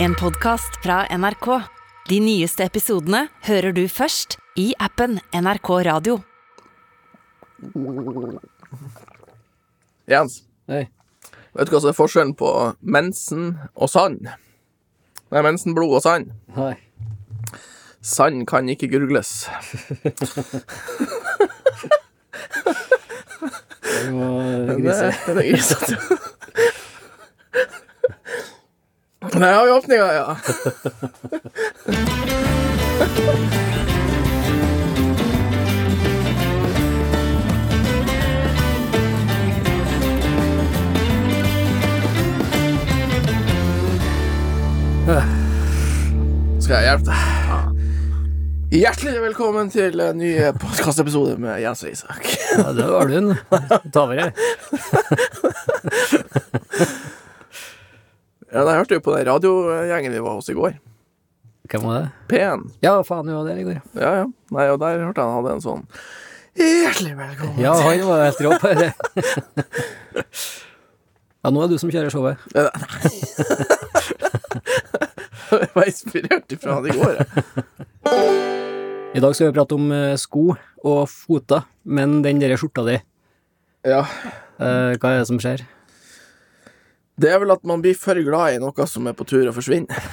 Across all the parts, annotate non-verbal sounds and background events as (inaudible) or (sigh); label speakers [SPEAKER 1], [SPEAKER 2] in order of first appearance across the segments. [SPEAKER 1] En podcast fra NRK. De nyeste episodene hører du først i appen NRK Radio.
[SPEAKER 2] Jens,
[SPEAKER 3] Hei.
[SPEAKER 2] vet du hva som er forskjellen på mensen og sand? Nei, mensen, blod og sand.
[SPEAKER 3] Nei.
[SPEAKER 2] Sand kan ikke gurgles.
[SPEAKER 3] Vi må
[SPEAKER 2] Det
[SPEAKER 3] grise.
[SPEAKER 2] (laughs) det er grisete. Der har vi åpninga, ja. Skal jeg hjelpe deg? Hjertelig velkommen til en ny podkastepisode med Jens og Isak.
[SPEAKER 3] Ja, det var du. (laughs) Ta over, jeg.
[SPEAKER 2] Ja, Jeg hørte jo på den radiogjengen vi var hos i går.
[SPEAKER 3] Hvem var det?
[SPEAKER 2] P1.
[SPEAKER 3] Ja, faen, du var der i går.
[SPEAKER 2] Ja, ja. Nei, og der hørte jeg han hadde en sånn Hjertelig velkommen.
[SPEAKER 3] Ja, han var helt rå på det. (laughs) Ja, nå er du som kjører showet.
[SPEAKER 2] Eh, Nei. Jeg (laughs) var inspirert ifra han i går. jeg.
[SPEAKER 3] I dag skal vi prate om eh, sko og fota, men den der skjorta di,
[SPEAKER 2] Ja.
[SPEAKER 3] eh, hva er det som skjer?
[SPEAKER 2] Det er vel at man blir for glad i noe som er på tur å forsvinne. (laughs)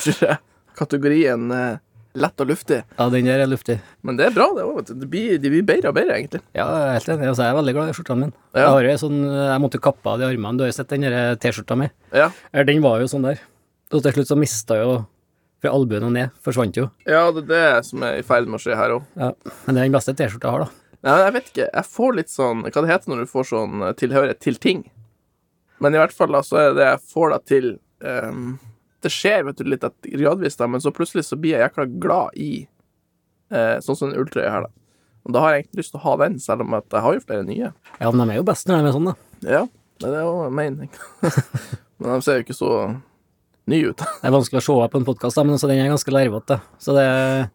[SPEAKER 2] Tror jeg. Kategorien eh, lett og luftig.
[SPEAKER 3] Ja, den der er luftig.
[SPEAKER 2] Men det er bra, det òg. De blir bedre og bedre, egentlig.
[SPEAKER 3] Ja, jeg er helt enig. Altså, jeg er veldig glad i skjortene mine.
[SPEAKER 2] Ja.
[SPEAKER 3] Jeg har jo en sånn, jeg måtte kappe av de armene. Du har jo sett den der eh, T-skjorta mi.
[SPEAKER 2] Ja,
[SPEAKER 3] Eller, Den var jo sånn der. Og til slutt så mista jeg jo fra albuen og ned. Forsvant jo.
[SPEAKER 2] ja det er det som er i ferd med å skje her òg.
[SPEAKER 3] Ja. Men det er den beste T-skjorta jeg har, da.
[SPEAKER 2] Nei, men jeg vet ikke. Jeg får litt sånn Hva det heter når du får sånn eh, tilhørighet til ting? Men i hvert fall, da, så er det jeg får deg til ehm, Det skjer, vet du, litt at gradvis, da, men så plutselig så blir jeg jækla glad i eh, sånn som den ulltrøya her, da. Og da har jeg egentlig lyst til å ha den, selv om at jeg har jo flere nye.
[SPEAKER 3] Ja, men de er jo best når de er sånn, da.
[SPEAKER 2] Ja, det er jo mening. (laughs) men de ser jo ikke så nye ut. (laughs)
[SPEAKER 3] Det er vanskelig å se av på en podkast, men altså, den er ganske larvete. Så det uh,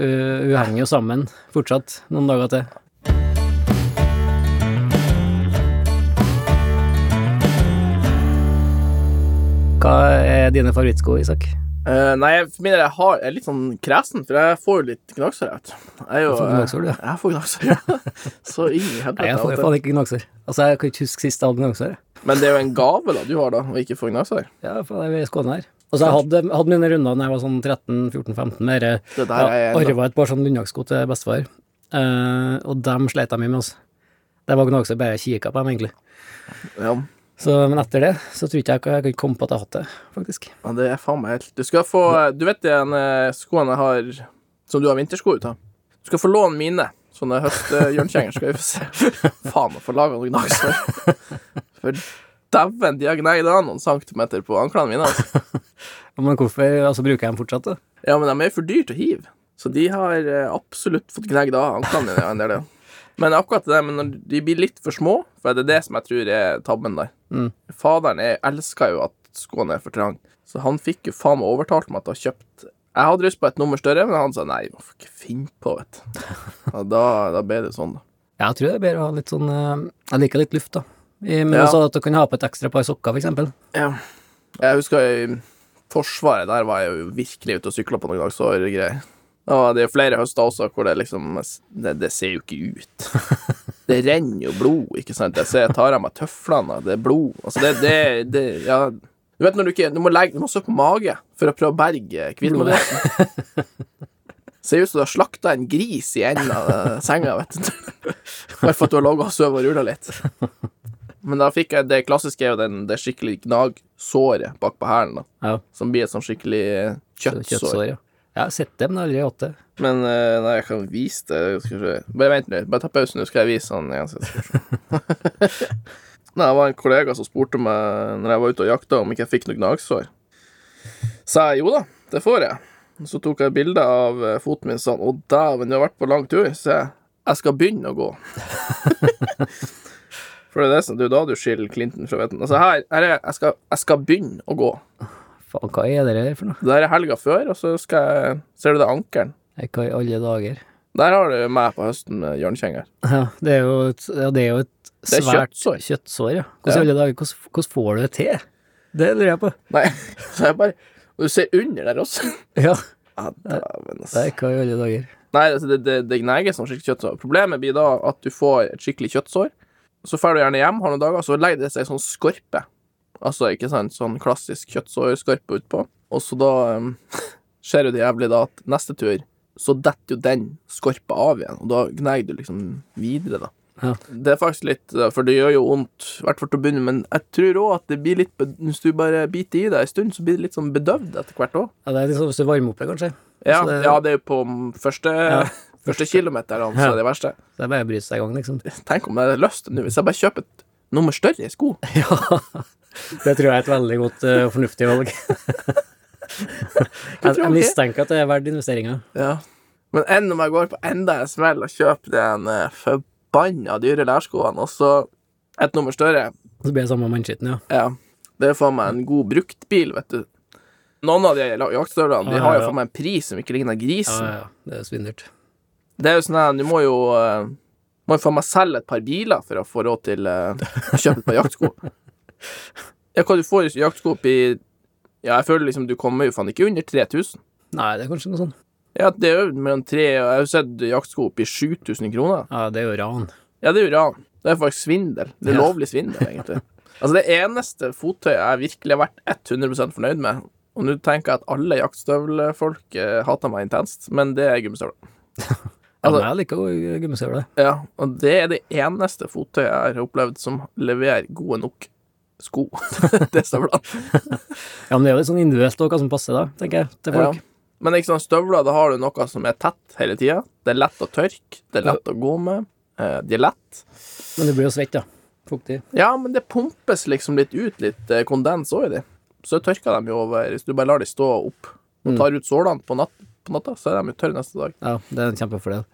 [SPEAKER 3] Hun henger jo sammen fortsatt noen dager til. Hva er dine favorittsko, Isak?
[SPEAKER 2] Eh, nei, jeg- for min del, jeg, har, jeg er litt sånn kresen, for jeg får jo litt gnagsår, jeg vet du. Jeg er jo,
[SPEAKER 3] Du får gnagsår, du, ja.
[SPEAKER 2] Jeg får gnagsår,
[SPEAKER 3] (laughs)
[SPEAKER 2] ja. Så inn i helvete.
[SPEAKER 3] Nei, jeg får
[SPEAKER 2] vet
[SPEAKER 3] jo
[SPEAKER 2] du.
[SPEAKER 3] faen ikke gnagsår. Altså, jeg kan ikke huske sist jeg hadde gnagsår. jeg.
[SPEAKER 2] Men det er jo en gave da du har, da, å ikke få gnagsår.
[SPEAKER 3] Ja, faen, jeg er i Skåne her. Altså, jeg hadde, hadde mine runder da jeg var sånn 13-14-15, med dere
[SPEAKER 2] Det der er
[SPEAKER 3] Jeg
[SPEAKER 2] en-
[SPEAKER 3] arva et par sånne Lundjaktsko til bestefar, eh, og dem sleit jeg mye med. Altså. Det var gnagsår bare jeg kikka på dem, egentlig.
[SPEAKER 2] Ja,
[SPEAKER 3] Så, men etter det så tror ikke jeg jeg kan komme på at jeg har hatt det, faktisk.
[SPEAKER 2] men det er faen meg helt Du skal få Du vet de eh, skoene jeg har som du har vintersko ut av? Du skal få låne mine. Sånne høst-jørnkjenger skal vi få (laughs) se. Faen, å få laga noen gnagsår. (laughs) For dæven, de har gneid av noen centimeter på anklene mine. Altså.
[SPEAKER 3] Men hvorfor altså, bruker jeg dem fortsatt, da?
[SPEAKER 2] Ja, men de er jo for dyre til å hive. Så de har eh, absolutt fått gnegd av anklene mine. En del, ja. Men akkurat det der, men når de blir litt for små, for det er det som jeg tror er tabben der.
[SPEAKER 3] Mm.
[SPEAKER 2] Faderen er- elsker jo at skoene er for trange, så han fikk jo faen meg overtalt meg til å ha kjøpt Jeg hadde lyst på et nummer større, men han sa nei, man får ikke finne på, vet du. Og da, da ble det sånn, da.
[SPEAKER 3] Ja, Jeg tror det er bedre å ha litt sånn eh, Jeg liker litt luft, da. I, men
[SPEAKER 2] Ja.
[SPEAKER 3] også at du kan ha på et ekstra par sokker, for eksempel.
[SPEAKER 2] Jeg husker i Forsvaret, der var jeg jo virkelig ute og sykla på noen dagsårgreier. Og det er jo flere høster også hvor det liksom Det, det ser jo ikke ut. Det renner jo blod, ikke sant. Jeg ser jeg tar av meg tøflene, og det er blod. Altså, det, det, det Ja. Du vet når du ikke Du må legge Du må stå på mage for å prøve å berge hvitmodellen. Ser ut som du har slakta en gris i enden av eh, senga, vet du. Bare for at du har ligget og sovet og rulla litt. Men da fikk jeg det klassiske er jo den, det skikkelig gnagsåret bak på hælen, da.
[SPEAKER 3] Ja,
[SPEAKER 2] Som blir et sånn skikkelig eh, kjøttsår.
[SPEAKER 3] Kjøttsår. Ja. Jeg har sett det, men jeg har aldri hatt det.
[SPEAKER 2] Men eh, nei, jeg kan vise det. Skal vi se. Bare vent nå. Bare ta pausen, nå skal jeg vise han igjen. så skal vi se. (laughs) nei, det var en kollega som spurte meg når jeg var ute og jakta, om ikke jeg fikk noe gnagsår. Sa jeg jo da, det får jeg. Og Så tok jeg bilde av eh, foten min og sa han, å dæven, du har vært på lang tur. Så jeg jeg skal begynne å gå. For det er det som det er jo da du skiller Clinton fra Vetten. Altså her, her er jeg, jeg skal, jeg skal begynne å gå.
[SPEAKER 3] Faen, hva er det her for noe?
[SPEAKER 2] Det der er helga før, og så skal jeg Ser du det ankelen?
[SPEAKER 3] Nei, Hva i alle dager?
[SPEAKER 2] Der har du meg på høsten med hjørnekjenger.
[SPEAKER 3] Ja, det er jo et, ja, det er jo et
[SPEAKER 2] Det er
[SPEAKER 3] svært
[SPEAKER 2] kjøttsår.
[SPEAKER 3] kjøttsår. ja. Hvordan, i
[SPEAKER 2] Ja.
[SPEAKER 3] alle dager, hvordan, hvordan får du det til? Det lurer jeg på.
[SPEAKER 2] Nei, (laughs) så jeg bare Og du ser under der også. (laughs)
[SPEAKER 3] Ja,
[SPEAKER 2] Ja, altså. dæven, ass.
[SPEAKER 3] det er hva i alle dager.
[SPEAKER 2] Nei, altså, det, det, det gnager som skikkelig kjøttsår. Problemet blir da at du får et skikkelig kjøttsår. Så drar du gjerne hjem, har noen dager, så legger det seg sånn skorpe. Altså, ikke sant, sånn klassisk kjøttsårskorpe utpå. Og så da um, (laughs) skjer jo det jævlig da at neste tur så detter jo den skorpa av igjen, og da gnager du liksom videre, da.
[SPEAKER 3] Ja.
[SPEAKER 2] Det er faktisk litt uh, For det gjør jo vondt, i hvert fall til å begynne, men jeg tror òg at det blir litt bed- Hvis du bare biter i deg en stund, så blir det litt sånn bedøvd etter hvert òg.
[SPEAKER 3] Ja, det er liksom hvis du varmer opp det, kanskje.
[SPEAKER 2] Ja,
[SPEAKER 3] Så det-
[SPEAKER 2] ja, det er jo på første, (laughs)
[SPEAKER 3] Ja.
[SPEAKER 2] første kilometeren som er det verste.
[SPEAKER 3] Så det er bare å bryte seg i gang, liksom.
[SPEAKER 2] Tenk om jeg hadde lyst nå, hvis jeg bare kjøper et nummer større i sko.
[SPEAKER 3] Ja. Det tror jeg er et veldig godt eh, og fornuftig valg. jeg,
[SPEAKER 2] tror jeg
[SPEAKER 3] jeg
[SPEAKER 2] det.
[SPEAKER 3] mistenker at det er verdt investeringa.
[SPEAKER 2] Ja. Men enn om jeg går på enda en smell og kjøper den eh, forbanna dyre lærskoene, og så et nummer større
[SPEAKER 3] Så blir det samme mannskitten, ja.
[SPEAKER 2] Ja. Det er faen meg en god bruktbil, vet du. Noen av de la- jaktstøvlene de
[SPEAKER 3] Ja,
[SPEAKER 2] har
[SPEAKER 3] ja,
[SPEAKER 2] jo
[SPEAKER 3] ja.
[SPEAKER 2] faen meg en pris som ikke ligner
[SPEAKER 3] Ja,
[SPEAKER 2] grisen.
[SPEAKER 3] ja, ja. Det er svindert.
[SPEAKER 2] Det er jo sånn her, du må jo eh, Må jo faen meg selge et par biler for å få råd til eh, å kjøpe et par jaktsko. Ja, hva du får i jaktsko oppi Ja, jeg føler liksom du kommer jo faen ikke under 3000.
[SPEAKER 3] Nei, det er kanskje noe sånt.
[SPEAKER 2] Ja, det er jo mellom tre og Jeg har jo sett jaktsko opp i 7000 kroner.
[SPEAKER 3] Ja, det er jo ran.
[SPEAKER 2] Ja, det er jo ran. Det er faktisk svindel. Det er
[SPEAKER 3] Ja.
[SPEAKER 2] lovlig svindel, egentlig. altså, det eneste fottøyet jeg virkelig har vært 100 fornøyd med Og nå tenker jeg at alle jaktstøvlefolk eh, hater meg intenst, men det er gummistøvler.
[SPEAKER 3] Ja,
[SPEAKER 2] Altså-
[SPEAKER 3] men jeg liker jo gummistøvler.
[SPEAKER 2] Ja, og det er det eneste fottøyet jeg har opplevd som leverer gode nok sko (laughs) til støvlene.
[SPEAKER 3] Ja, men det er jo litt sånn individuelt også, hva som passer da, tenker jeg, til folk.
[SPEAKER 2] Ja. Men ikke sånn støvler, da har du noe som er tett hele tida. Det er lett å tørke, det er lett å gå med. eh, De er lett.
[SPEAKER 3] Men det blir jo svett, ja. Fuktig.
[SPEAKER 2] Ja, men det pumpes liksom litt ut litt eh, kondens òg i det. Så tørker de jo over Hvis du bare lar de stå opp og
[SPEAKER 3] Mm.
[SPEAKER 2] tar ut sålene på, natt, på natta, så er de jo tørre neste dag.
[SPEAKER 3] Ja, det er en kjempefordel.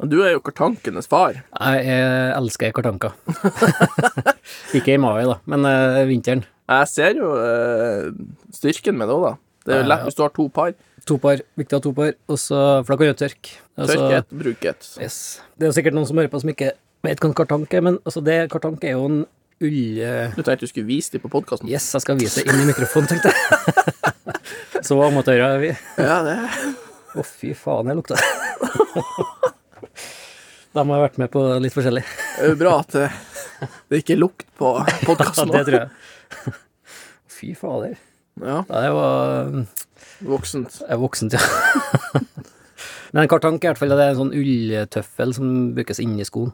[SPEAKER 2] Og Du er jo kartankenes far.
[SPEAKER 3] Jeg eh, elsker kartanker. (laughs) Ikke i mai, da, men eh, vinteren.
[SPEAKER 2] Jeg ser jo eh, styrken med det òg, da. Det er jo
[SPEAKER 3] Ja,
[SPEAKER 2] lett
[SPEAKER 3] ja.
[SPEAKER 2] hvis du har to par.
[SPEAKER 3] To par, viktig å ha to par, og så, for da kan du tørke. Altså,
[SPEAKER 2] Tørke ett, bruke ett.
[SPEAKER 3] Yes. Det er jo sikkert noen som hører på som ikke vet hva en kartank er, men altså, det, kartank er jo en ull... eh,
[SPEAKER 2] Du tenkte du skulle vise dem på podkasten?
[SPEAKER 3] Yes, jeg skal vise det inn i mikrofonen, tenkte jeg. (laughs) så amatører er vi.
[SPEAKER 2] Ja, det
[SPEAKER 3] Å, fy faen, jeg (laughs) lukta. De har vært med på litt forskjellig.
[SPEAKER 2] er jo bra at eh, det ikke er lukt på
[SPEAKER 3] Ja,
[SPEAKER 2] (laughs) podkasten.
[SPEAKER 3] det tror jeg. Fy fader.
[SPEAKER 2] Ja,
[SPEAKER 3] Ja, det var
[SPEAKER 2] voksent.
[SPEAKER 3] jeg er voksent, ja. (laughs) Men en kartank er i hvert fall det er en sånn ulltøffel som brukes inni skoen.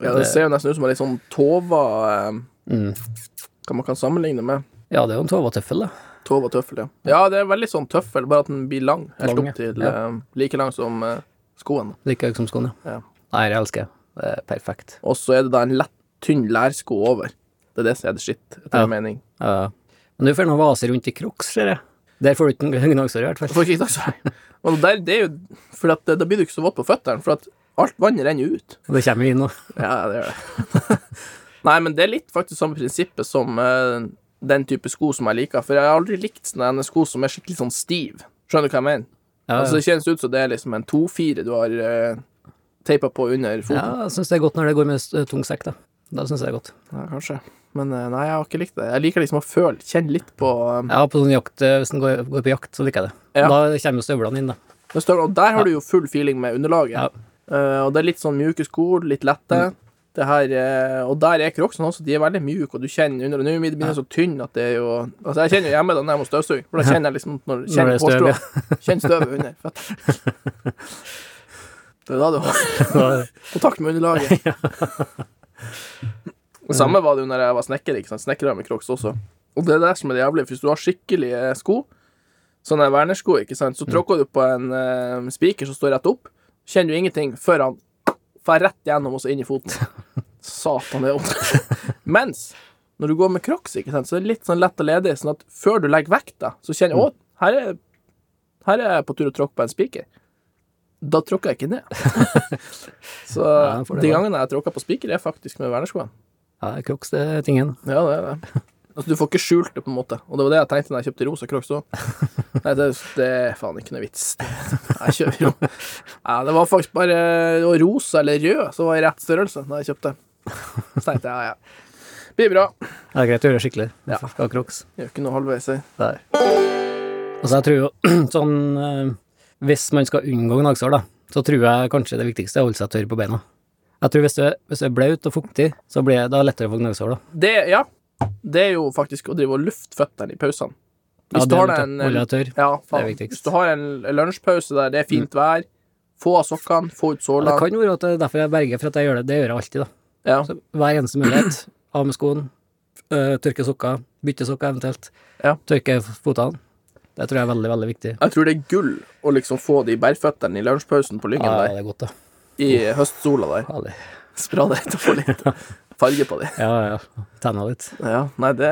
[SPEAKER 2] Ja, det ser jo nesten ut som en litt sånn Tova eh,
[SPEAKER 3] Mm.
[SPEAKER 2] Hva man kan sammenligne med.
[SPEAKER 3] Ja, det er jo en tovatøffel, da.
[SPEAKER 2] Tov og tøffel, ja. Ja, det er veldig sånn tøffel, bare at den blir lang. Helt
[SPEAKER 3] Lang,
[SPEAKER 2] opp til
[SPEAKER 3] ja.
[SPEAKER 2] eh, like lang som eh, skoen.
[SPEAKER 3] Like høy som skoen, ja.
[SPEAKER 2] Ja.
[SPEAKER 3] Nei, jeg elsker det. Det er perfekt.
[SPEAKER 2] Og så er det da en lett, tynn lærsko over. Det er det som er det skitt, etter
[SPEAKER 3] Ja.
[SPEAKER 2] min mening.
[SPEAKER 3] Ja. Men du får noen vaser rundt i crocs, ser jeg. Der får du ikke noen gnagsår, i hvert fall.
[SPEAKER 2] For ikke sagt, (laughs) og der, det er jo, for at, eh, da blir du ikke så våt på føttene, for at alt vannet renner jo ut.
[SPEAKER 3] Og det kommer jo inn nå.
[SPEAKER 2] Ja, det gjør det. (laughs) Nei, men det er litt faktisk samme prinsippet som eh, den type sko som jeg liker, for jeg har aldri likt sånne sko som er skikkelig sånn stiv. Skjønner du hva jeg mener?
[SPEAKER 3] Ja,
[SPEAKER 2] Altså,
[SPEAKER 3] ja.
[SPEAKER 2] det kjennes ut som det er liksom en 2-4 du har uh, teipa på under foten.
[SPEAKER 3] ja jeg syns det er godt når det går med eh, tung sekk, da. Da syns jeg det er godt.
[SPEAKER 2] Ja, kanskje. Men eh, nei, jeg har ikke likt det. Jeg liker liksom å føle, kjenne litt på eh,
[SPEAKER 3] Ja, på sånn jakt, eh, hvis en går, går på jakt, så liker jeg det.
[SPEAKER 2] Ja.
[SPEAKER 3] Da kommer jo støvlene (laughs) inn, da.
[SPEAKER 2] med støvler. Og der har du jo full feeling med underlaget.
[SPEAKER 3] Ja. Mm.
[SPEAKER 2] Eh, og det er litt sånn mjuke sko, litt lette. Det her, eh, og der er crocsene også, de er veldig mjuke, og du kjenner under og Nå er mine mine så tynne at det er jo Altså, jeg kjenner jo hjemme da når jeg må støvsuge, for da kjenner jeg liksom når
[SPEAKER 3] Når
[SPEAKER 2] kjenner
[SPEAKER 3] det er støv, ja.
[SPEAKER 2] hårstrået. Kjenner støvet under. Fett.
[SPEAKER 3] (laughs)
[SPEAKER 2] Det er da du har
[SPEAKER 3] Da-
[SPEAKER 2] kontakt med underlaget. Og
[SPEAKER 3] Mm.
[SPEAKER 2] Samme var det jo når jeg var snekker. ikke sant? Snekker med crocs også. Og det er det som er det jævlige. for Hvis du har skikkelige sko, sånne vernersko, ikke sant?
[SPEAKER 3] Mm.
[SPEAKER 2] så tråkker du på en eh, spiker som står rett opp, kjenner du ingenting før han fer rett gjennom og så inn i
[SPEAKER 3] (laughs)
[SPEAKER 2] foten. Satan, det er vondt. Mens når du går med crocs, ikke sant? så er det litt sånn lett og ledig, sånn at før du legger vekta, så kjenner
[SPEAKER 3] Mm.
[SPEAKER 2] du Å, her er, her er jeg på tur å tråkke på en spiker. Da tråkker jeg ikke
[SPEAKER 3] (laughs)
[SPEAKER 2] ned. så
[SPEAKER 3] Ja, for det
[SPEAKER 2] de
[SPEAKER 3] var-
[SPEAKER 2] gangene jeg tråkker på spiker, er faktisk med vernerskoene.
[SPEAKER 3] Ja, crocs det er tingen.
[SPEAKER 2] Ja, det er det. (laughs) Altså, du får ikke skjult det, på en måte. Og det var det jeg tenkte når jeg kjøpte rosa crocs òg. Nei, det, det er faen ikke noe vits. Jeg kjøper jo ja, Det var faktisk bare det var rosa eller rød som var i rett størrelse da jeg kjøpte. Så tenkte jeg ja, ja. Blir bra.
[SPEAKER 3] Det er greit å gjøre det skikkelig.
[SPEAKER 2] Ja.
[SPEAKER 3] Skal ha crocs.
[SPEAKER 2] Gjør ikke noe halvveis her.
[SPEAKER 3] Der. Altså, jeg tror jo (clears throat) sånn eh, Hvis man skal unngå gnagsår, da, så tror jeg kanskje det viktigste er å holde seg tørr på beina. Jeg tror hvis du, er- hvis du er blaut og fuktig, så blir det da lettere å få gnagsår, da.
[SPEAKER 2] Det, ja. Det er jo faktisk å drive og lufte føttene i pausene.
[SPEAKER 3] Ja,
[SPEAKER 2] Hvis du
[SPEAKER 3] det er
[SPEAKER 2] har eh, deg
[SPEAKER 3] viktig.
[SPEAKER 2] en
[SPEAKER 3] Holde deg tørr.
[SPEAKER 2] Ja, faen.
[SPEAKER 3] Det er viktigst. Mm.
[SPEAKER 2] Hvis du har en lunsjpause der det er fint vær, få av sokkene, få ut
[SPEAKER 3] Ja, det
[SPEAKER 2] sålene.
[SPEAKER 3] kan jo være at det er derfor jeg berger, for at jeg gjør det. Det gjør jeg alltid, da.
[SPEAKER 2] Ja,
[SPEAKER 3] Så hver eneste mulighet. (clears throat) Av med skoen, øh, tørke sokker, bytte sokker eventuelt.
[SPEAKER 2] Ja.
[SPEAKER 3] Tørke f- fotene. Det tror jeg er veldig, veldig viktig.
[SPEAKER 2] Jeg tror det er gull å liksom få de bærføttene i lunsjpausen på
[SPEAKER 3] Ja,
[SPEAKER 2] lyggen
[SPEAKER 3] det er godt, da.
[SPEAKER 2] der i høstsola der.
[SPEAKER 3] Herlig.
[SPEAKER 2] Ah, (laughs) Spra det etter å få litt farge på de.
[SPEAKER 3] Ja, ja, ja. Tenna litt.
[SPEAKER 2] Ja, nei, det,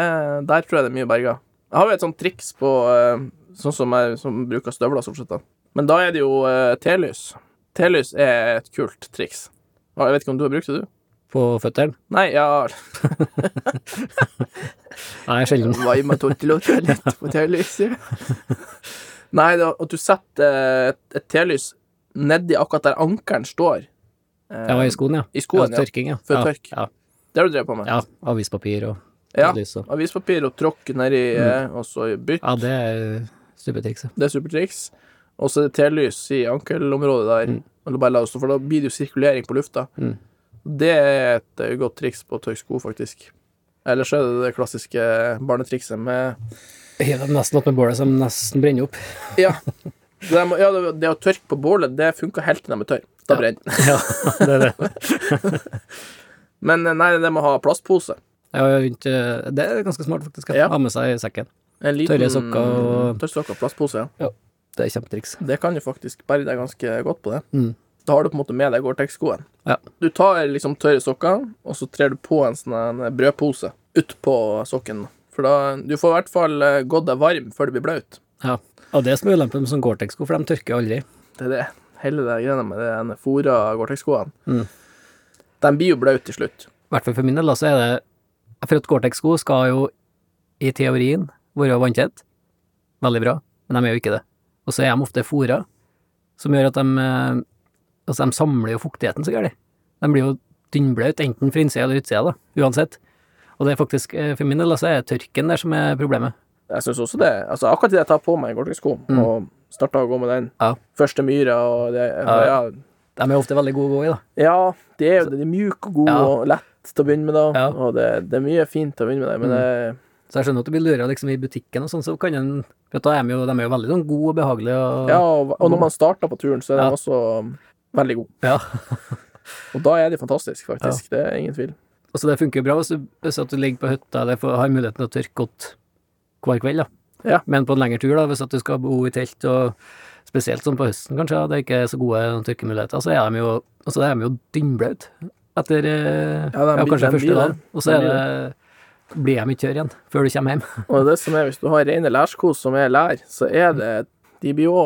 [SPEAKER 2] der tror jeg det er mye berga. Jeg har jo et sånt triks på eh, Sånn som jeg som bruker støvler, stort sett. da. Men da er det jo eh, telys. Telys er et kult triks. Og Jeg vet ikke om du har brukt det, du?
[SPEAKER 3] På føttene.
[SPEAKER 2] Nei, ja altså,
[SPEAKER 3] Nei, sjelden.
[SPEAKER 2] Vai med tortilåter litt på telyset. (laughs) Nei, det var at du setter eh, et, et telys nedi akkurat der ankelen står. Eh,
[SPEAKER 3] Jeg var i skoen, ja.
[SPEAKER 2] I skoen,
[SPEAKER 3] ja.
[SPEAKER 2] ja.
[SPEAKER 3] Tørking, ja.
[SPEAKER 2] Før
[SPEAKER 3] ja,
[SPEAKER 2] tørk.
[SPEAKER 3] Ja.
[SPEAKER 2] Det har du drevet på med.
[SPEAKER 3] ja. Avispapir og
[SPEAKER 2] Ja.
[SPEAKER 3] lys og
[SPEAKER 2] Avispapir og tråkk nedi, eh, og så bytt.
[SPEAKER 3] Ja, det er stubbetrikset.
[SPEAKER 2] Det er supertriks. Og så er det telys i ankelområdet der. Eller bare la det stå, for da blir det jo sirkulering på lufta.
[SPEAKER 3] Mm.
[SPEAKER 2] Det er et eh, godt triks på å tørke sko, faktisk. Ellers er det det klassiske barnetrikset med
[SPEAKER 3] Hiv dem nesten opp med bålet som nesten brenner opp.
[SPEAKER 2] Ja. Det, må, ja, det, det å tørke på bålet, det funka helt til de er tørre. Da
[SPEAKER 3] Ja.
[SPEAKER 2] brenner den.
[SPEAKER 3] (laughs) Ja, det er det.
[SPEAKER 2] Men eh, nei, det må ha plastpose.
[SPEAKER 3] Jeg har jo rundt, øh, det er ganske smart, faktisk.
[SPEAKER 2] Ja.
[SPEAKER 3] Ja. Ha med seg i sekken.
[SPEAKER 2] En liten,
[SPEAKER 3] Tørre sokker og-
[SPEAKER 2] Tørre sokker og plastpose, ja.
[SPEAKER 3] Det er kjempetriks.
[SPEAKER 2] Det kan jo faktisk bære deg ganske godt på det.
[SPEAKER 3] Mm.
[SPEAKER 2] Da har du på en måte med deg Gore-Tex-skoen.
[SPEAKER 3] Ja.
[SPEAKER 2] Du tar liksom tørre sokker, og så trer du på en sånn en brødpose utpå sokken. For da Du får i hvert fall eh, gått deg varm før du blir blaut.
[SPEAKER 3] Ja. Og det er som er ulempen med sånn Gore-Tex-sko, for de tørker jo aldri.
[SPEAKER 2] Det er det. Hele det greiene med den fôra Gore-Tex-skoene.
[SPEAKER 3] Mm.
[SPEAKER 2] De blir jo blaute til slutt.
[SPEAKER 3] I hvert fall for min del, da, så er det For at Gore-Tex-sko skal jo i teorien være vanntett. Veldig bra, men de er jo ikke det. Og så er de ofte fôra, som gjør at de eh, Altså, de samler jo fuktigheten så gærent. De blir jo dynnblaute, enten fra innsida eller utsida, da, uansett. Og det er faktisk, eh, for min del, da, så er det tørken der som er problemet.
[SPEAKER 2] Jeg synes også det. Altså, akkurat idet jeg tar på meg Gore-Tex-sko og starter å gå med den
[SPEAKER 3] Mm. Ja.
[SPEAKER 2] første myra og det ja.
[SPEAKER 3] Ja. De er ofte veldig gode å gå i, da.
[SPEAKER 2] ja, det er jo det. De er mjuke og gode
[SPEAKER 3] Ja.
[SPEAKER 2] og lett til å begynne med, da.
[SPEAKER 3] Ja. Mm.
[SPEAKER 2] Og det, det er mye fint til å begynne med, det, men det,
[SPEAKER 3] Så jeg skjønner at du blir lura liksom, i butikken og sånn, så kan en For at da er de jo, de er jo veldig sånn gode og behagelige og
[SPEAKER 2] ja, og, og når man starter på turen, så er
[SPEAKER 3] Ja.
[SPEAKER 2] den også um, veldig god.
[SPEAKER 3] Ja.
[SPEAKER 2] (laughs) Og da er de fantastiske, faktisk. Det er ingen tvil.
[SPEAKER 3] Altså, det funker jo bra hvis du, hvis at du ligger på hytta eller får, har muligheten til å tørke godt hver kveld, da.
[SPEAKER 2] Ja.
[SPEAKER 3] Men på en lengre tur, da, hvis at du skal bo i telt, og spesielt sånn på høsten, kanskje, da, det ikke er så gode tørkemuligheter, så er de jo, altså, er de jo dynnblaute etter eh,
[SPEAKER 2] Ja, de blir- de
[SPEAKER 3] kanskje
[SPEAKER 2] blir
[SPEAKER 3] første dagen,
[SPEAKER 2] det.
[SPEAKER 3] og så
[SPEAKER 2] De
[SPEAKER 3] er det, blir de ikke tørre igjen før du kommer hjem.
[SPEAKER 2] Og det er det som er, hvis du har rene lærskos som er lær, så er det De blir jo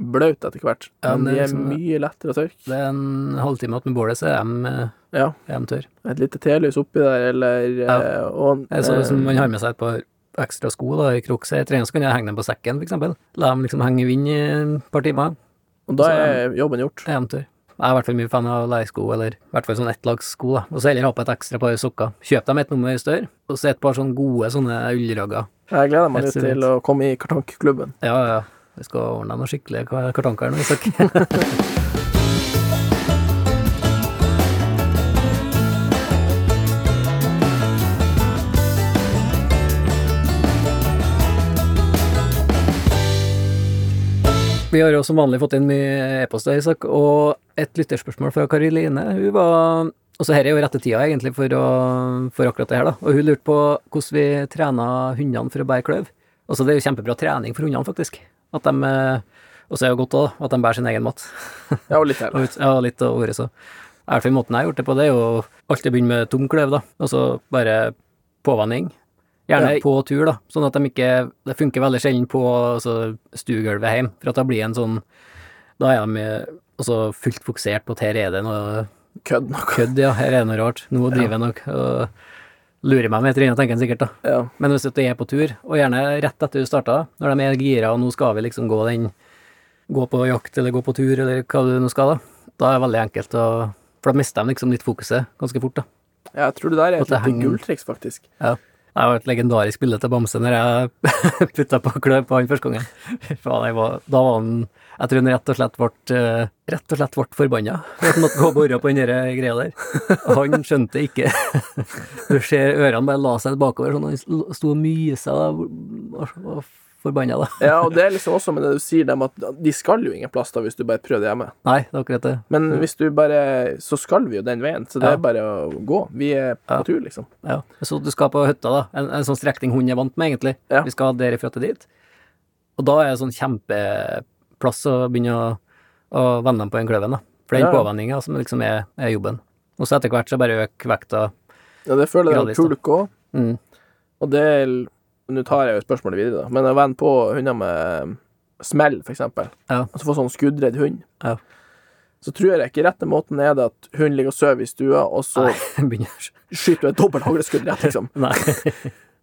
[SPEAKER 2] blaute etter hvert,
[SPEAKER 3] Ja,
[SPEAKER 2] men
[SPEAKER 3] det
[SPEAKER 2] de
[SPEAKER 3] er
[SPEAKER 2] er
[SPEAKER 3] liksom-
[SPEAKER 2] mye lettere å tørke.
[SPEAKER 3] Det er en halvtime igjen med bålet, så er de, eh,
[SPEAKER 2] Ja.
[SPEAKER 3] er de tørre.
[SPEAKER 2] Et lite telys oppi der, eller eh, og,
[SPEAKER 3] Det er sånn
[SPEAKER 2] eh,
[SPEAKER 3] som man har med seg et par ekstra sko da, i crocs i trening, så kan jeg henge dem på sekken, for eksempel. La dem liksom henge i vind i et par timer.
[SPEAKER 2] Og da
[SPEAKER 3] Så,
[SPEAKER 2] er jobben gjort.
[SPEAKER 3] Jeg er Jeg er i hvert fall mye fan av leirsko, eller i hvert fall sånn ettlagssko, da. Og så heller ha på et ekstra par sokker. Kjøp dem et nummer større, og så et par sånne gode sånne ullragger.
[SPEAKER 2] Jeg gleder meg nå
[SPEAKER 3] Absolutt.
[SPEAKER 2] til å komme i Kartankklubben.
[SPEAKER 3] Ja, ja. Vi skal ordne deg noen skikkelige kar- kartanker her nå, Isak. Vi har jo som vanlig fått inn mye e-poster, Isak, og et lytterspørsmål fra Kariline. Hun var Og så her er jo rette tida, egentlig, for, å, for akkurat det her, da. Og hun lurte på hvordan vi trena hundene for å bære kløv. Altså, det er jo kjempebra trening for hundene, faktisk. At de eh, Og så er det jo godt òg, at de bærer sin egen mat. (laughs)
[SPEAKER 2] Ja, og litt
[SPEAKER 3] Og
[SPEAKER 2] til.
[SPEAKER 3] ut- Ja, litt av året, så. I hvert fall måten jeg har gjort det på, det er jo alltid begynne med tom kløv, da. Og så bare påvanning. Gjerne
[SPEAKER 2] Ja.
[SPEAKER 3] på tur, da, sånn at de ikke Det funker veldig sjelden på altså, stuegulvet hjemme, for at da blir en sånn Da er de eh, altså, fullt fokusert på at her er det noe
[SPEAKER 2] Kødd nok.
[SPEAKER 3] kødd, ja, her er det noe rart. Nå driver jeg nok og lurer meg med et eller annet, tenker en sikkert, da.
[SPEAKER 2] Ja.
[SPEAKER 3] Men hvis du er på tur, og gjerne rett etter du starta, når de er gira og nå skal vi liksom gå den Gå på jakt eller gå på tur eller hva du nå skal, da. Da er det veldig enkelt å For da mister de liksom litt fokuset ganske fort, da.
[SPEAKER 2] Ja, jeg tror det der er
[SPEAKER 3] At
[SPEAKER 2] et
[SPEAKER 3] det
[SPEAKER 2] lite
[SPEAKER 3] henger-
[SPEAKER 2] gulltriks, faktisk.
[SPEAKER 3] Det var et legendarisk bilde til Bamse når jeg (laughs) putta på klør på han første gangen. (laughs) Fy faen, jeg var, da var han Jeg tror han rett og slett ble, eh, rett og slett ble forbanna for at han måtte gå og bore på den der greia der. Han skjønte ikke (laughs) Du ser ørene bare la seg bakover, sånn, han sto og mysa og altså, var forbanna, da.
[SPEAKER 2] Ja, og det er liksom også med det du sier dem, at de skal jo ingen plass da hvis du bare prøver det hjemme.
[SPEAKER 3] Nei, det er akkurat det.
[SPEAKER 2] Men hvis du bare Så skal vi jo den veien, så det
[SPEAKER 3] Mm. Ja.
[SPEAKER 2] er bare å gå. Vi er på
[SPEAKER 3] Ja.
[SPEAKER 2] tur, liksom.
[SPEAKER 3] Ja. Så du skal på hytta, da. En, en sånn strekning hun er vant med, egentlig.
[SPEAKER 2] Ja.
[SPEAKER 3] Vi skal derifra til dit. Og da er det sånn kjempeplass å begynne å, å vende dem på den kløven, da. For det er
[SPEAKER 2] Ja,
[SPEAKER 3] den
[SPEAKER 2] ja.
[SPEAKER 3] påvendinga som liksom er, er jobben. Og så etter hvert så bare øker vekta.
[SPEAKER 2] Ja, det føler jeg
[SPEAKER 3] Gradvis,
[SPEAKER 2] at Pulk òg.
[SPEAKER 3] Mm. (laughs)
[SPEAKER 2] Og det er l- Nå tar jeg jo spørsmålet videre, da. Men å vende på hunder med smell, for eksempel,
[SPEAKER 3] Ja.
[SPEAKER 2] altså få sånn skuddredd hund,
[SPEAKER 3] Ja.
[SPEAKER 2] så tror jeg ikke rette måten er det at hunden ligger og sover i stua, og så
[SPEAKER 3] Nei, begynner
[SPEAKER 2] skyter du et dobbelt hagleskudd rett, liksom.
[SPEAKER 3] Nei,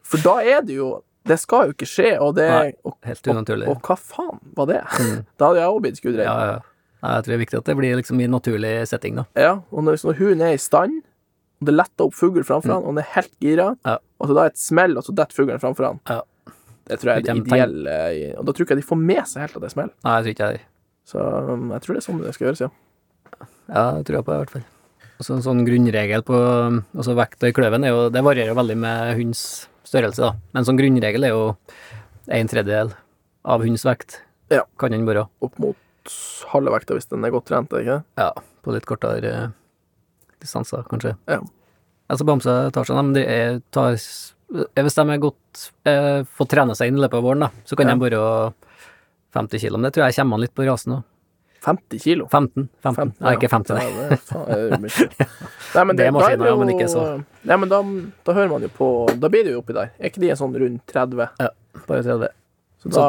[SPEAKER 2] For da er det jo Det skal jo ikke skje, og det
[SPEAKER 3] Nei,
[SPEAKER 2] og,
[SPEAKER 3] (laughs) helt
[SPEAKER 2] og,
[SPEAKER 3] unaturlig.
[SPEAKER 2] og hva faen var det?
[SPEAKER 3] Mm.
[SPEAKER 2] Da hadde jeg òg blitt skuddredd.
[SPEAKER 3] Ja, ja. Nei, Jeg tror det er viktig at det blir liksom i en naturlig setting, da.
[SPEAKER 2] Ja, og når, liksom, hunden er i stand, og det letter opp fugl framfor han, og han er helt gira,
[SPEAKER 3] Mm. Ja.
[SPEAKER 2] og så da er et smell, og så detter fuglen framfor han.
[SPEAKER 3] Ja.
[SPEAKER 2] Det tror jeg er det
[SPEAKER 3] Ikke en tegn.
[SPEAKER 2] ideelle i- Og da tror ikke jeg de får med seg helt at det er smell.
[SPEAKER 3] Nei, jeg tror ikke jeg
[SPEAKER 2] Så um, jeg tror det er sånn det skal gjøres, ja.
[SPEAKER 3] Ja, det tror jeg på, i hvert fall. Og så en sånn grunnregel på altså vekta i kløven er jo Det varierer jo veldig med hunds størrelse, da. Men sånn grunnregel er jo en tredjedel av hunds vekt.
[SPEAKER 2] Ja.
[SPEAKER 3] Kan den være.
[SPEAKER 2] Opp mot halve vekta hvis den er godt trent, er det ikke det?
[SPEAKER 3] Ja, på litt kortere eh, distanser, kanskje.
[SPEAKER 2] Ja.
[SPEAKER 3] Altså, Bamse tar seg dem. De er, tar, s- eh, hvis de er godt eh, får trene seg inn i løpet av våren, da, så kan
[SPEAKER 2] Ja.
[SPEAKER 3] de være 50 kilo. Men det tror jeg kommer an litt på rasen òg.
[SPEAKER 2] 50 kilo.
[SPEAKER 3] 15? 15. Nei,
[SPEAKER 2] ja.
[SPEAKER 3] ikke 50, nei.
[SPEAKER 2] Ja, det er faen, det er
[SPEAKER 3] (laughs)
[SPEAKER 2] mye. Nei, men
[SPEAKER 3] Det er
[SPEAKER 2] da
[SPEAKER 3] maskiner,
[SPEAKER 2] jo-
[SPEAKER 3] men ikke så.
[SPEAKER 2] Nei, men da, da hører man jo på Da blir det jo oppi der. Er ikke de en sånn rundt 30?
[SPEAKER 3] Bare 30.
[SPEAKER 2] Så da,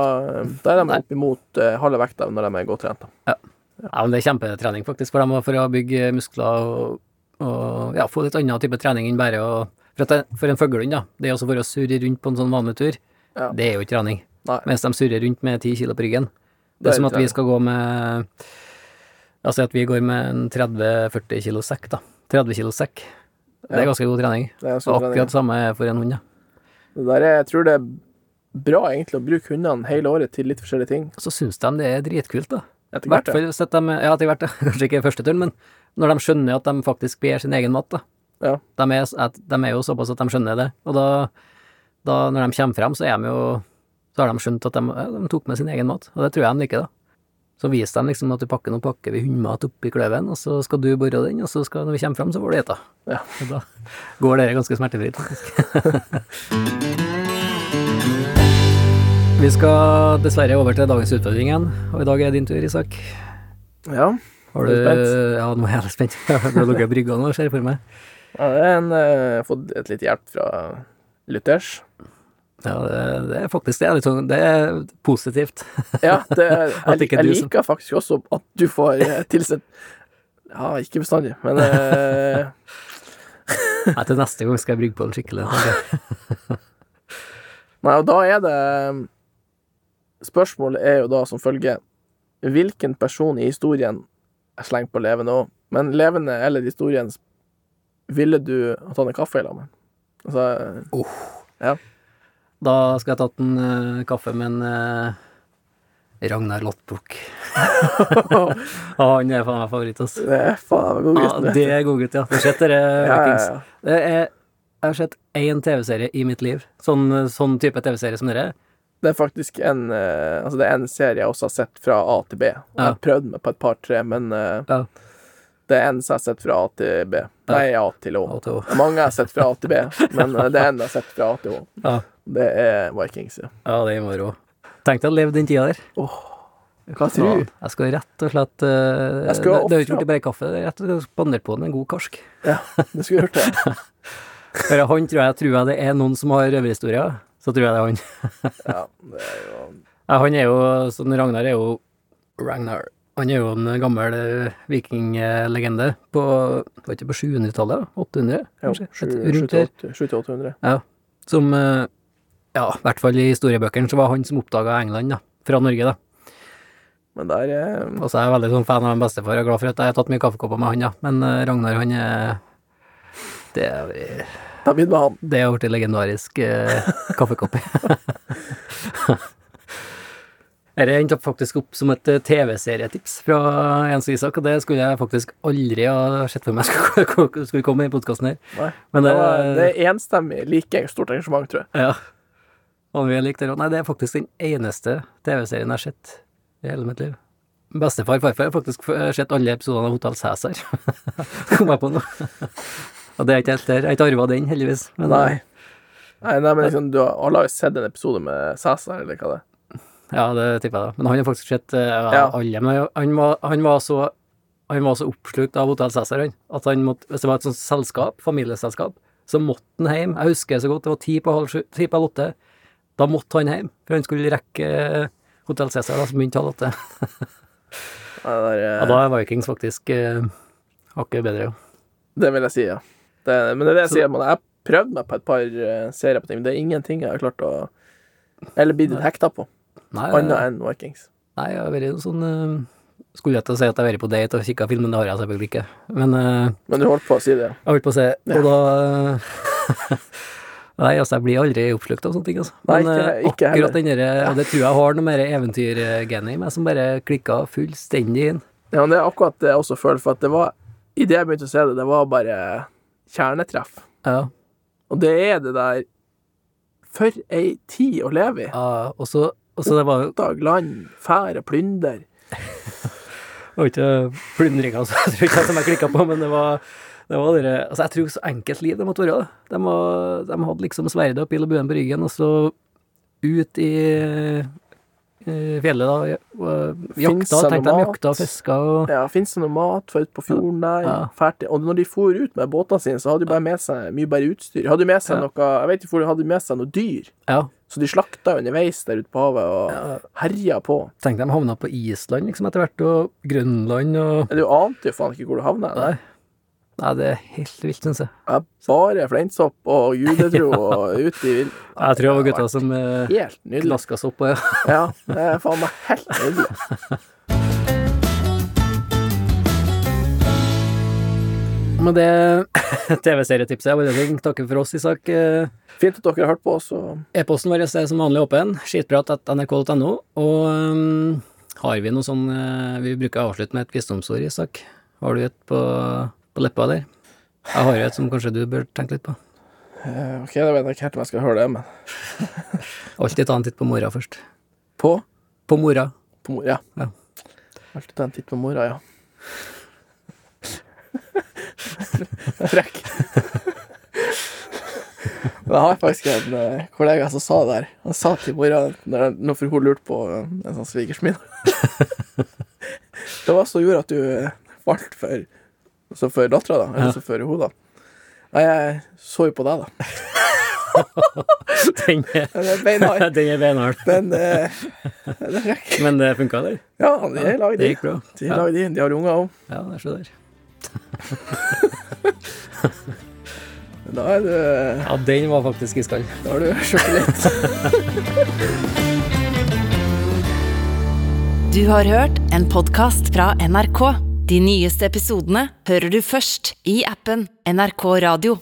[SPEAKER 2] da er de
[SPEAKER 3] Nei.
[SPEAKER 2] oppimot eh, halve vekta når de er godt trent. Da.
[SPEAKER 3] Ja, men det er kjempetrening faktisk for dem og for å bygge muskler og, og ja, få litt annen type trening enn bare å For, at det, for en fuglehund, da, det er også for å surre rundt på en sånn vanlig tur,
[SPEAKER 2] Ja.
[SPEAKER 3] det er jo ikke trening.
[SPEAKER 2] Nei.
[SPEAKER 3] Mens de surrer rundt med ti kilo på ryggen.
[SPEAKER 2] Det
[SPEAKER 3] Det
[SPEAKER 2] er
[SPEAKER 3] er som at vi
[SPEAKER 2] trening.
[SPEAKER 3] skal gå med Altså at vi går med en 30-40 kilo sekk, da. 30 kilo sekk. Det
[SPEAKER 2] Ja.
[SPEAKER 3] er ganske god trening.
[SPEAKER 2] Det er en
[SPEAKER 3] Og
[SPEAKER 2] sånn trening.
[SPEAKER 3] akkurat samme er for en hund, ja.
[SPEAKER 2] Det der er, jeg tror det er bra egentlig å bruke hundene hele året til litt forskjellige ting.
[SPEAKER 3] Så syns de det er dritkult, da.
[SPEAKER 2] Etter
[SPEAKER 3] I
[SPEAKER 2] hvert,
[SPEAKER 3] hvert
[SPEAKER 2] ja.
[SPEAKER 3] fall hvis at de Ja, etter hvert, ja. (laughs) kanskje ikke første turen, men når de skjønner at de faktisk ber sin egen mat, da.
[SPEAKER 2] Ja.
[SPEAKER 3] De er, at de er jo såpass at de skjønner det, og da, da når de kommer frem, så er de jo Så har de skjønt at de, ja, de tok med sin egen mat, og det tror jeg de liker, da. Så viser de liksom at du pakker, nå pakker vi hundmat oppi kløven, og så skal du bore den, og så skal, når vi kommer frem, så får du ete.
[SPEAKER 2] Ja.
[SPEAKER 3] (laughs) Og Da går det ganske smertefritt, faktisk. vi skal dessverre over til dagens utfordring igjen, og i dag er det din tur, Isak.
[SPEAKER 2] ja.
[SPEAKER 3] Har
[SPEAKER 2] Er
[SPEAKER 3] du
[SPEAKER 2] du spent?
[SPEAKER 3] Eh, Ja, nå er jeg litt spent. (laughs) Du har lukket brygga nå, ser jeg for meg.
[SPEAKER 2] Ja, det er en, eh, jeg har fått et litt hjelp fra lytters.
[SPEAKER 3] Ja, det, det er faktisk det. Er litt sånn, det er positivt.
[SPEAKER 2] Ja, det, er-
[SPEAKER 3] (laughs) At
[SPEAKER 2] jeg,
[SPEAKER 3] ikke
[SPEAKER 2] jeg
[SPEAKER 3] du som-
[SPEAKER 2] liker faktisk også at du får eh, tilsendt Ja, ikke bestandig, men
[SPEAKER 3] (laughs)
[SPEAKER 2] eh,
[SPEAKER 3] (laughs) Nei, til neste gang skal jeg brygge på den skikkelig. tenker jeg.
[SPEAKER 2] Nei, og da er det Spørsmålet er jo da som følger Hvilken person i historien Jeg slenger på levende òg, men levende eller historien Ville du at han er kaffe i lag med? Altså
[SPEAKER 3] (laughs) (laughs) Da skal jeg tatt en eh, kaffe med en eh, Ragnar Lottbukk. Og han er faen meg favoritt, ass.
[SPEAKER 2] Det er faen meg god
[SPEAKER 3] Ja,
[SPEAKER 2] gutten. vet du.
[SPEAKER 3] det er godgutt, ja. Du har sett dere
[SPEAKER 2] Ja,
[SPEAKER 3] Vikings.
[SPEAKER 2] ja, ja.
[SPEAKER 3] Det er, jeg har sett én TV-serie i mitt liv, sånn, sånn type TV-serie som dere.
[SPEAKER 2] Det er faktisk en eh, Altså det er en serie jeg også har sett fra A til B. Og Jeg
[SPEAKER 3] Ja.
[SPEAKER 2] har prøvd meg på et par-tre, men eh,
[SPEAKER 3] Ja.
[SPEAKER 2] det er en som jeg har sett fra A til B. Nei, A til Å.
[SPEAKER 3] og to.
[SPEAKER 2] Mange jeg har sett fra A til B, men eh, det er en jeg har sett fra A til Å.
[SPEAKER 3] Ja,
[SPEAKER 2] Det er Vikings. Ja.
[SPEAKER 3] ja det er moro. Tenk deg å leve den tida der.
[SPEAKER 2] Hva tror du?
[SPEAKER 3] Jeg skal rett og slett eh,
[SPEAKER 2] Jeg skal
[SPEAKER 3] Det det er jo ikke
[SPEAKER 2] ofre-
[SPEAKER 3] blitt bare kaffe, det er rett og slett spandert på den en god
[SPEAKER 2] (laughs)
[SPEAKER 3] karsk.
[SPEAKER 2] Ja, du skulle hørt det.
[SPEAKER 3] For han tror jeg, tror jeg det er noen som har røverhistorier, så tror jeg det er han.
[SPEAKER 2] Ja, det er jo
[SPEAKER 3] Ja, han er jo sånn Ragnar er jo Ragnar. Han er jo en gammel eh, vikinglegende på Var ikke på 700-tallet? da? 800?
[SPEAKER 2] jo,
[SPEAKER 3] kanskje? Et- Rundt der.
[SPEAKER 2] 700-800.
[SPEAKER 3] Som eh, Ja, i hvert fall i historiebøkene så var han som oppdaga England, da. Fra Norge, da.
[SPEAKER 2] Men der eh,
[SPEAKER 3] Og så er jeg veldig sånn fan av min bestefar og glad for at jeg har tatt mye kaffekopper med han, ja. Men eh, Ragnar, han er Det er jo-
[SPEAKER 2] Ta min med han.
[SPEAKER 3] det er jo blitt legendarisk eh, kaffekopp. (laughs) Dette endte opp faktisk opp som et eh, TV-serietips fra Jens og Isak, og det skulle jeg faktisk aldri ha sett for meg skulle (laughs) skulle komme i podkasten her.
[SPEAKER 2] Nei.
[SPEAKER 3] Men
[SPEAKER 2] Det,
[SPEAKER 3] det,
[SPEAKER 2] var, det er enstemmig like stort engasjement, tror jeg.
[SPEAKER 3] Ja. Og vi likte det også. Nei, det er faktisk den eneste TV-serien jeg har sett i hele mitt liv. Bestefar farfar har faktisk f- sett alle episodene av Hotell Cæsar. (laughs) Kom jeg på nå. Og det er ikke helt der. Jeg har ikke arva den, heldigvis. Men
[SPEAKER 2] Nei. Nei, nei men liksom, du har, alle har jo sett en episode med Cæsar, eller hva det er.
[SPEAKER 3] Ja, det tipper jeg, da. Men han har faktisk sett eh, ja.
[SPEAKER 2] Ja.
[SPEAKER 3] alle. Men han var, han var så han var så oppslukt av Hotell Cæsar, han, at han måtte, hvis det var et sånt selskap, familieselskap, så måtte han hjem. Jeg husker så godt, det var ti på halv sju, ti på halv åtte. Da måtte han hjem, for han skulle rekke eh, Hotell Cæsar, da, som begynte halv åtte.
[SPEAKER 2] Nei, det,
[SPEAKER 3] Ja,
[SPEAKER 2] er,
[SPEAKER 3] da er Vikings faktisk eh, hakket bedre, jo.
[SPEAKER 2] det vil jeg si, ja. Det, men det er det jeg
[SPEAKER 3] Så-
[SPEAKER 2] sier. Man, jeg har prøvd meg på et par eh, serier på ting, men det er ingenting jeg har klart å Eller blitt hekta på,
[SPEAKER 3] Nei, eh,
[SPEAKER 2] annet
[SPEAKER 3] nei.
[SPEAKER 2] enn Vikings.
[SPEAKER 3] jeg har vært noe sånn eh, Skulle jeg til å si at jeg har vært på date og kikka film, men det har jeg selvfølgelig ikke. Men eh,
[SPEAKER 2] Men du holdt på å si det. ja.
[SPEAKER 3] jeg holdt på å si Og da eh, (laughs) Nei, altså, jeg blir aldri oppslukt av sånne ting, altså.
[SPEAKER 2] Nei,
[SPEAKER 3] Men
[SPEAKER 2] ikke-
[SPEAKER 3] eh,
[SPEAKER 2] ikke heller.
[SPEAKER 3] akkurat den derre Og det tror jeg har noe mer eventyrgenet i meg som bare klikka fullstendig inn.
[SPEAKER 2] Ja, men det er akkurat det jeg også føler, for at det var Idet jeg begynte å se det, det var bare kjernetreff.
[SPEAKER 3] Ja.
[SPEAKER 2] Og det er det der For ei tid å leve i!
[SPEAKER 3] ja, og så og så det var jo
[SPEAKER 2] Dag, land, fære, plynder.
[SPEAKER 3] Det var ikke plyndringa altså. (laughs) jeg tror ikke som jeg klikka på, men det var, det var dere, altså Jeg tror så enkelt liv det måtte være. da. De, var, de hadde liksom sverdet og pil og buen på ryggen, og så ut i, i fjellet, da. og eh,
[SPEAKER 2] Finnes
[SPEAKER 3] Jakta,
[SPEAKER 2] det
[SPEAKER 3] tenkte
[SPEAKER 2] noe
[SPEAKER 3] de
[SPEAKER 2] mat?
[SPEAKER 3] jakta og fiska og
[SPEAKER 2] Ja, Fins det noe mat for ute på fjorden der?
[SPEAKER 3] Ja.
[SPEAKER 2] Fært, og når de for ut med båtene sine, så hadde de bare med seg mye bare utstyr. Hadde de med seg
[SPEAKER 3] Ja.
[SPEAKER 2] noe Jeg vet ikke hvor de hadde med seg noe dyr,
[SPEAKER 3] Ja.
[SPEAKER 2] så de slakta underveis der ute på havet og herja på.
[SPEAKER 3] Tenkte de havna på Island liksom etter hvert, og Grønland og
[SPEAKER 2] Du ante jo faen ikke hvor du havna.
[SPEAKER 3] Nei. Nei, det er helt vilt, syns jeg.
[SPEAKER 2] Ja, Bare fleinsopp og
[SPEAKER 3] (laughs)
[SPEAKER 2] judetro og ut i vill.
[SPEAKER 3] Jeg tror det var gutta som eh,
[SPEAKER 2] Helt nydelig.
[SPEAKER 3] glaska seg opp og ja.
[SPEAKER 2] Ja, det er faen meg helt nydelig.
[SPEAKER 3] Men det (laughs) TV-serietipset er bare ting. Takker for oss, Isak. Eh,
[SPEAKER 2] Fint at dere har hørt på oss. og
[SPEAKER 3] E-posten vår er som vanlig åpen, skitprat.nrk.no. Og øhm, har vi noe sånn øh, Vi bruker å avslutte med et visdomsord, Isak. Har du et på, på leppa der? Jeg har jo et som kanskje du bør tenke litt på.
[SPEAKER 2] Eh, Ok, da vet jeg ikke helt om jeg skal høre det, men
[SPEAKER 3] Alltid ta en titt på mora først.
[SPEAKER 2] På?
[SPEAKER 3] På mora. (laughs)
[SPEAKER 2] På mora.
[SPEAKER 3] Ja.
[SPEAKER 2] Alltid ta en titt på mora, ja. Det er frekk. Men jeg har faktisk en eh, kollega som sa det her. Han sa til mora når når- for hun lurte på eh, en sånn svigersmiddag. det var så gjorde at du eh, falt for, så for dattera, da. Eller så for hun, da. Nei, jeg så jo på deg, da.
[SPEAKER 3] Den er,
[SPEAKER 2] Det er beinhard.
[SPEAKER 3] (laughs) den er beinhard.
[SPEAKER 2] Den eh, Den er frekk.
[SPEAKER 3] Men det funka, eller?
[SPEAKER 2] Ja, de er lagd
[SPEAKER 3] Det
[SPEAKER 2] inn.
[SPEAKER 3] gikk bra.
[SPEAKER 2] De er
[SPEAKER 3] Ja,
[SPEAKER 2] lagd inn. De har unger òg.
[SPEAKER 3] ja det er så der.
[SPEAKER 2] Da er du,
[SPEAKER 3] Ja, den var faktisk iskald.
[SPEAKER 2] da er du sjokolade.
[SPEAKER 1] Du har hørt en podkast fra NRK. De nyeste episodene hører du først i appen NRK Radio.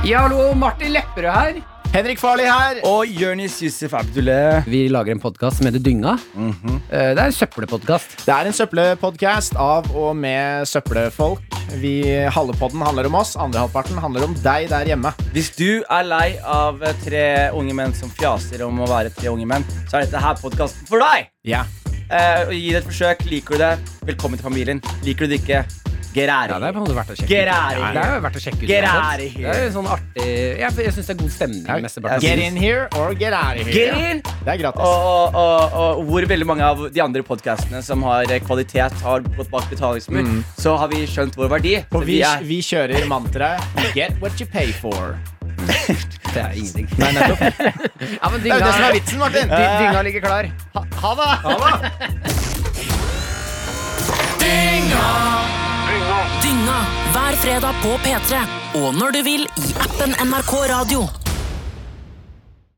[SPEAKER 4] Ja, hallo, Martin Lepperød her.
[SPEAKER 5] Henrik Farley her. Og Jonis Yusuf Abdullah.
[SPEAKER 4] Vi lager en podkast som heter Dynga. Eh, Det er en søppelpodkast.
[SPEAKER 5] Det er en søppelpodkast av og med søppelfolk. Vi, halve podden handler om oss, andre halvparten handler om deg der hjemme.
[SPEAKER 6] Hvis du er lei av eh, tre unge menn som fjaser om å være tre unge menn, så er dette her podkasten for deg!
[SPEAKER 5] Ja.
[SPEAKER 6] Eh, og Gi det et forsøk. Liker du det, velkommen til familien. Liker du det ikke, get out
[SPEAKER 4] Ja,
[SPEAKER 6] of
[SPEAKER 4] det er på en
[SPEAKER 6] here.
[SPEAKER 4] måte verdt å sjekke
[SPEAKER 6] Get
[SPEAKER 4] ut.
[SPEAKER 6] out of
[SPEAKER 4] Ja,
[SPEAKER 6] here.
[SPEAKER 4] Det er verdt å sjekke ut.
[SPEAKER 6] Get
[SPEAKER 4] uansett.
[SPEAKER 6] out of here.
[SPEAKER 4] Det er sånn artig Jeg, jeg syns det er god stemning. mesteparten. Oh.
[SPEAKER 5] Get in here or get out of here.
[SPEAKER 6] Get in!
[SPEAKER 5] Det er gratis.
[SPEAKER 6] Og, og, og, og hvor veldig mange av de andre podkastene som har eh, kvalitet, har gått bak betalingsmur,
[SPEAKER 4] Mm.
[SPEAKER 6] så har vi skjønt vår verdi.
[SPEAKER 5] og
[SPEAKER 6] Så
[SPEAKER 5] vi,
[SPEAKER 6] er-
[SPEAKER 5] vi kjører mantraet Get what you pay for.
[SPEAKER 4] Det er ingenting. Nei, nettopp. ja, men
[SPEAKER 5] Det er jo det som
[SPEAKER 4] dynga,
[SPEAKER 5] er vitsen, Martin.
[SPEAKER 4] dy- dynga ligger klar.
[SPEAKER 5] Ha det!
[SPEAKER 7] Dynga hver fredag på P3 og når du vil i appen NRK Radio.